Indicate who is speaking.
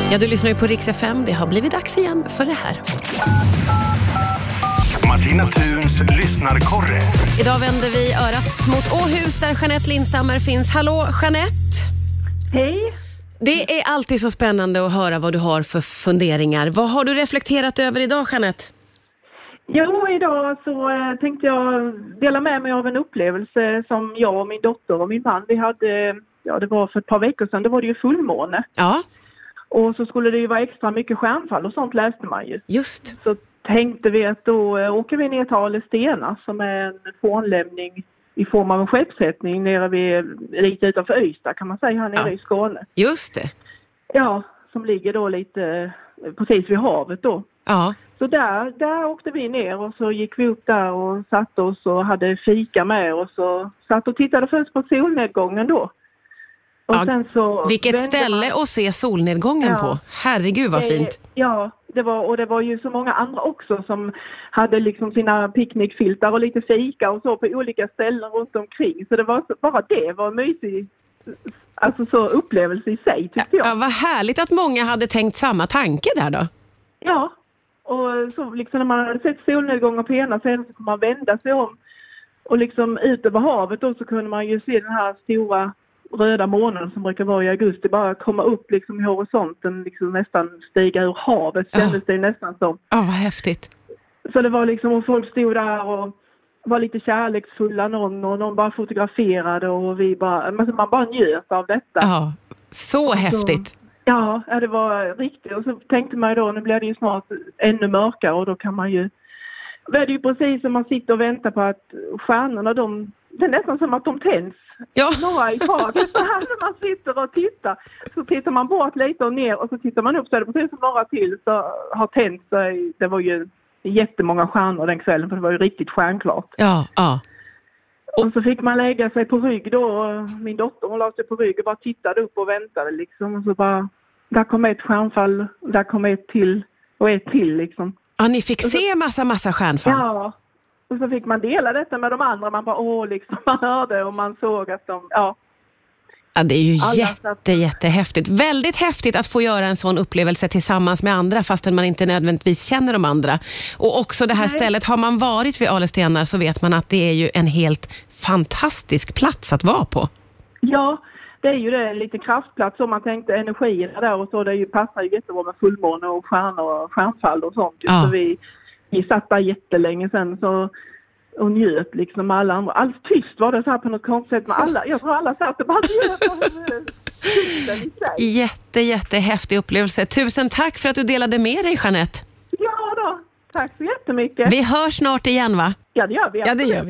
Speaker 1: Ja, du lyssnar ju på Rix FM. Det har blivit dags igen för det här.
Speaker 2: Martina Thuns lyssnarkorre.
Speaker 1: Idag vänder vi örat mot Åhus där Jeanette Lindstammer finns. Hallå Jeanette!
Speaker 3: Hej.
Speaker 1: Det är alltid så spännande att höra vad du har för funderingar. Vad har du reflekterat över idag Jeanette?
Speaker 3: Jo, idag så eh, tänkte jag dela med mig av en upplevelse som jag och min dotter och min man vi hade, eh, ja det var för ett par veckor sedan, då var det ju fullmåne.
Speaker 1: Ja,
Speaker 3: Och så skulle det ju vara extra mycket stjärnfall och sånt läste man ju.
Speaker 1: just.
Speaker 3: Så tänkte vi att då eh, åker vi ner till Ale Stena som är en fornlämning i form av en skeppssättning nere vid, lite utanför Ystad kan man säga, här nere
Speaker 1: Ja.
Speaker 3: i Skåne.
Speaker 1: Just det.
Speaker 3: Ja, som ligger då lite eh, precis vid havet då.
Speaker 1: Ja,
Speaker 3: Så där, där åkte vi ner och så gick vi upp där och satte oss och hade fika med oss och satt och tittade först på solnedgången då. Och
Speaker 1: Ja,
Speaker 3: sen så
Speaker 1: vilket
Speaker 3: vände
Speaker 1: ställe
Speaker 3: man-
Speaker 1: att se solnedgången
Speaker 3: Ja.
Speaker 1: på. Herregud vad fint.
Speaker 3: Eh, Ja, det var, och det var ju så många andra också som hade liksom sina picknickfiltar och lite fika och så på olika ställen runt omkring. Så det var så, bara det var en mysig alltså så upplevelse i sig tyckte jag.
Speaker 1: Ja, vad härligt att många hade tänkt samma tanke där då.
Speaker 3: Ja, och så liksom när man hade sett solnedgången på ena sidan så kunde man vända sig om och liksom ut över havet då så kunde man ju se den här stora röda månen som brukar vara i augusti bara komma upp liksom i horisonten, liksom nästan stiga ur havet
Speaker 1: Ja.
Speaker 3: kändes det nästan som.
Speaker 1: Ja, vad häftigt.
Speaker 3: Så det var liksom och folk stod där och var lite kärleksfulla någon och någon bara fotograferade och vi bara, men så man bara njöt av detta.
Speaker 1: Ja, så häftigt.
Speaker 3: Ja, ja, det var riktigt. Och så tänkte man ju då, nu blir det ju snart ännu mörkare och då kan man ju... Det är ju precis som man sitter och väntar på att stjärnorna, de, det är nästan som att de tänds.
Speaker 1: Ja.
Speaker 3: Några i taget. Så här när man sitter och tittar så tittar man bort lite och ner och så tittar man upp så är det precis som några till så har tänt sig. Det var ju jättemånga stjärnor den kvällen för det var ju riktigt stjärnklart.
Speaker 1: Ja, ja.
Speaker 3: Och så fick man lägga sig på rygg då. och Min dotter hon la sig på rygg och bara tittade upp och väntade liksom. Och så bara, där kom ett stjärnfall, där kom ett till och ett till liksom.
Speaker 1: ja ni fick se massa, massa stjärnfall.
Speaker 3: Ja. Och så fick man dela detta med de andra. Man bara åh liksom, man hörde och man såg att de, ja.
Speaker 1: Ja, det är ju
Speaker 3: Alla
Speaker 1: jätte,
Speaker 3: satt-
Speaker 1: jättehäftigt. Väldigt häftigt att få göra en sån upplevelse tillsammans med andra fastän man inte nödvändigtvis känner de andra. Och också det här
Speaker 3: Nej.
Speaker 1: stället, har man varit vid Ale stenar så vet man att det är ju en helt fantastisk plats att vara på.
Speaker 3: Ja, det är ju det, en liten kraftplats om man tänkte energierna där och så. Det är ju, passar ju jättebra med fullmåne och stjärnor och stjärnfall och sånt. ju.
Speaker 1: Ja.
Speaker 3: Så vi, vi satt där jättelänge sen så och njöt liksom med alla andra. Alldeles tyst var det så här på något konstigt sätt. Men alla, jag tror alla satt och bara njöt av eh, stunden i sig.
Speaker 1: Jätte, jättehäftig upplevelse. Tusen tack för att du delade med dig Jeanette.
Speaker 3: Ja då, tack så jättemycket.
Speaker 1: Vi hörs snart igen va?
Speaker 3: Ja det gör vi. absolut.
Speaker 1: vi.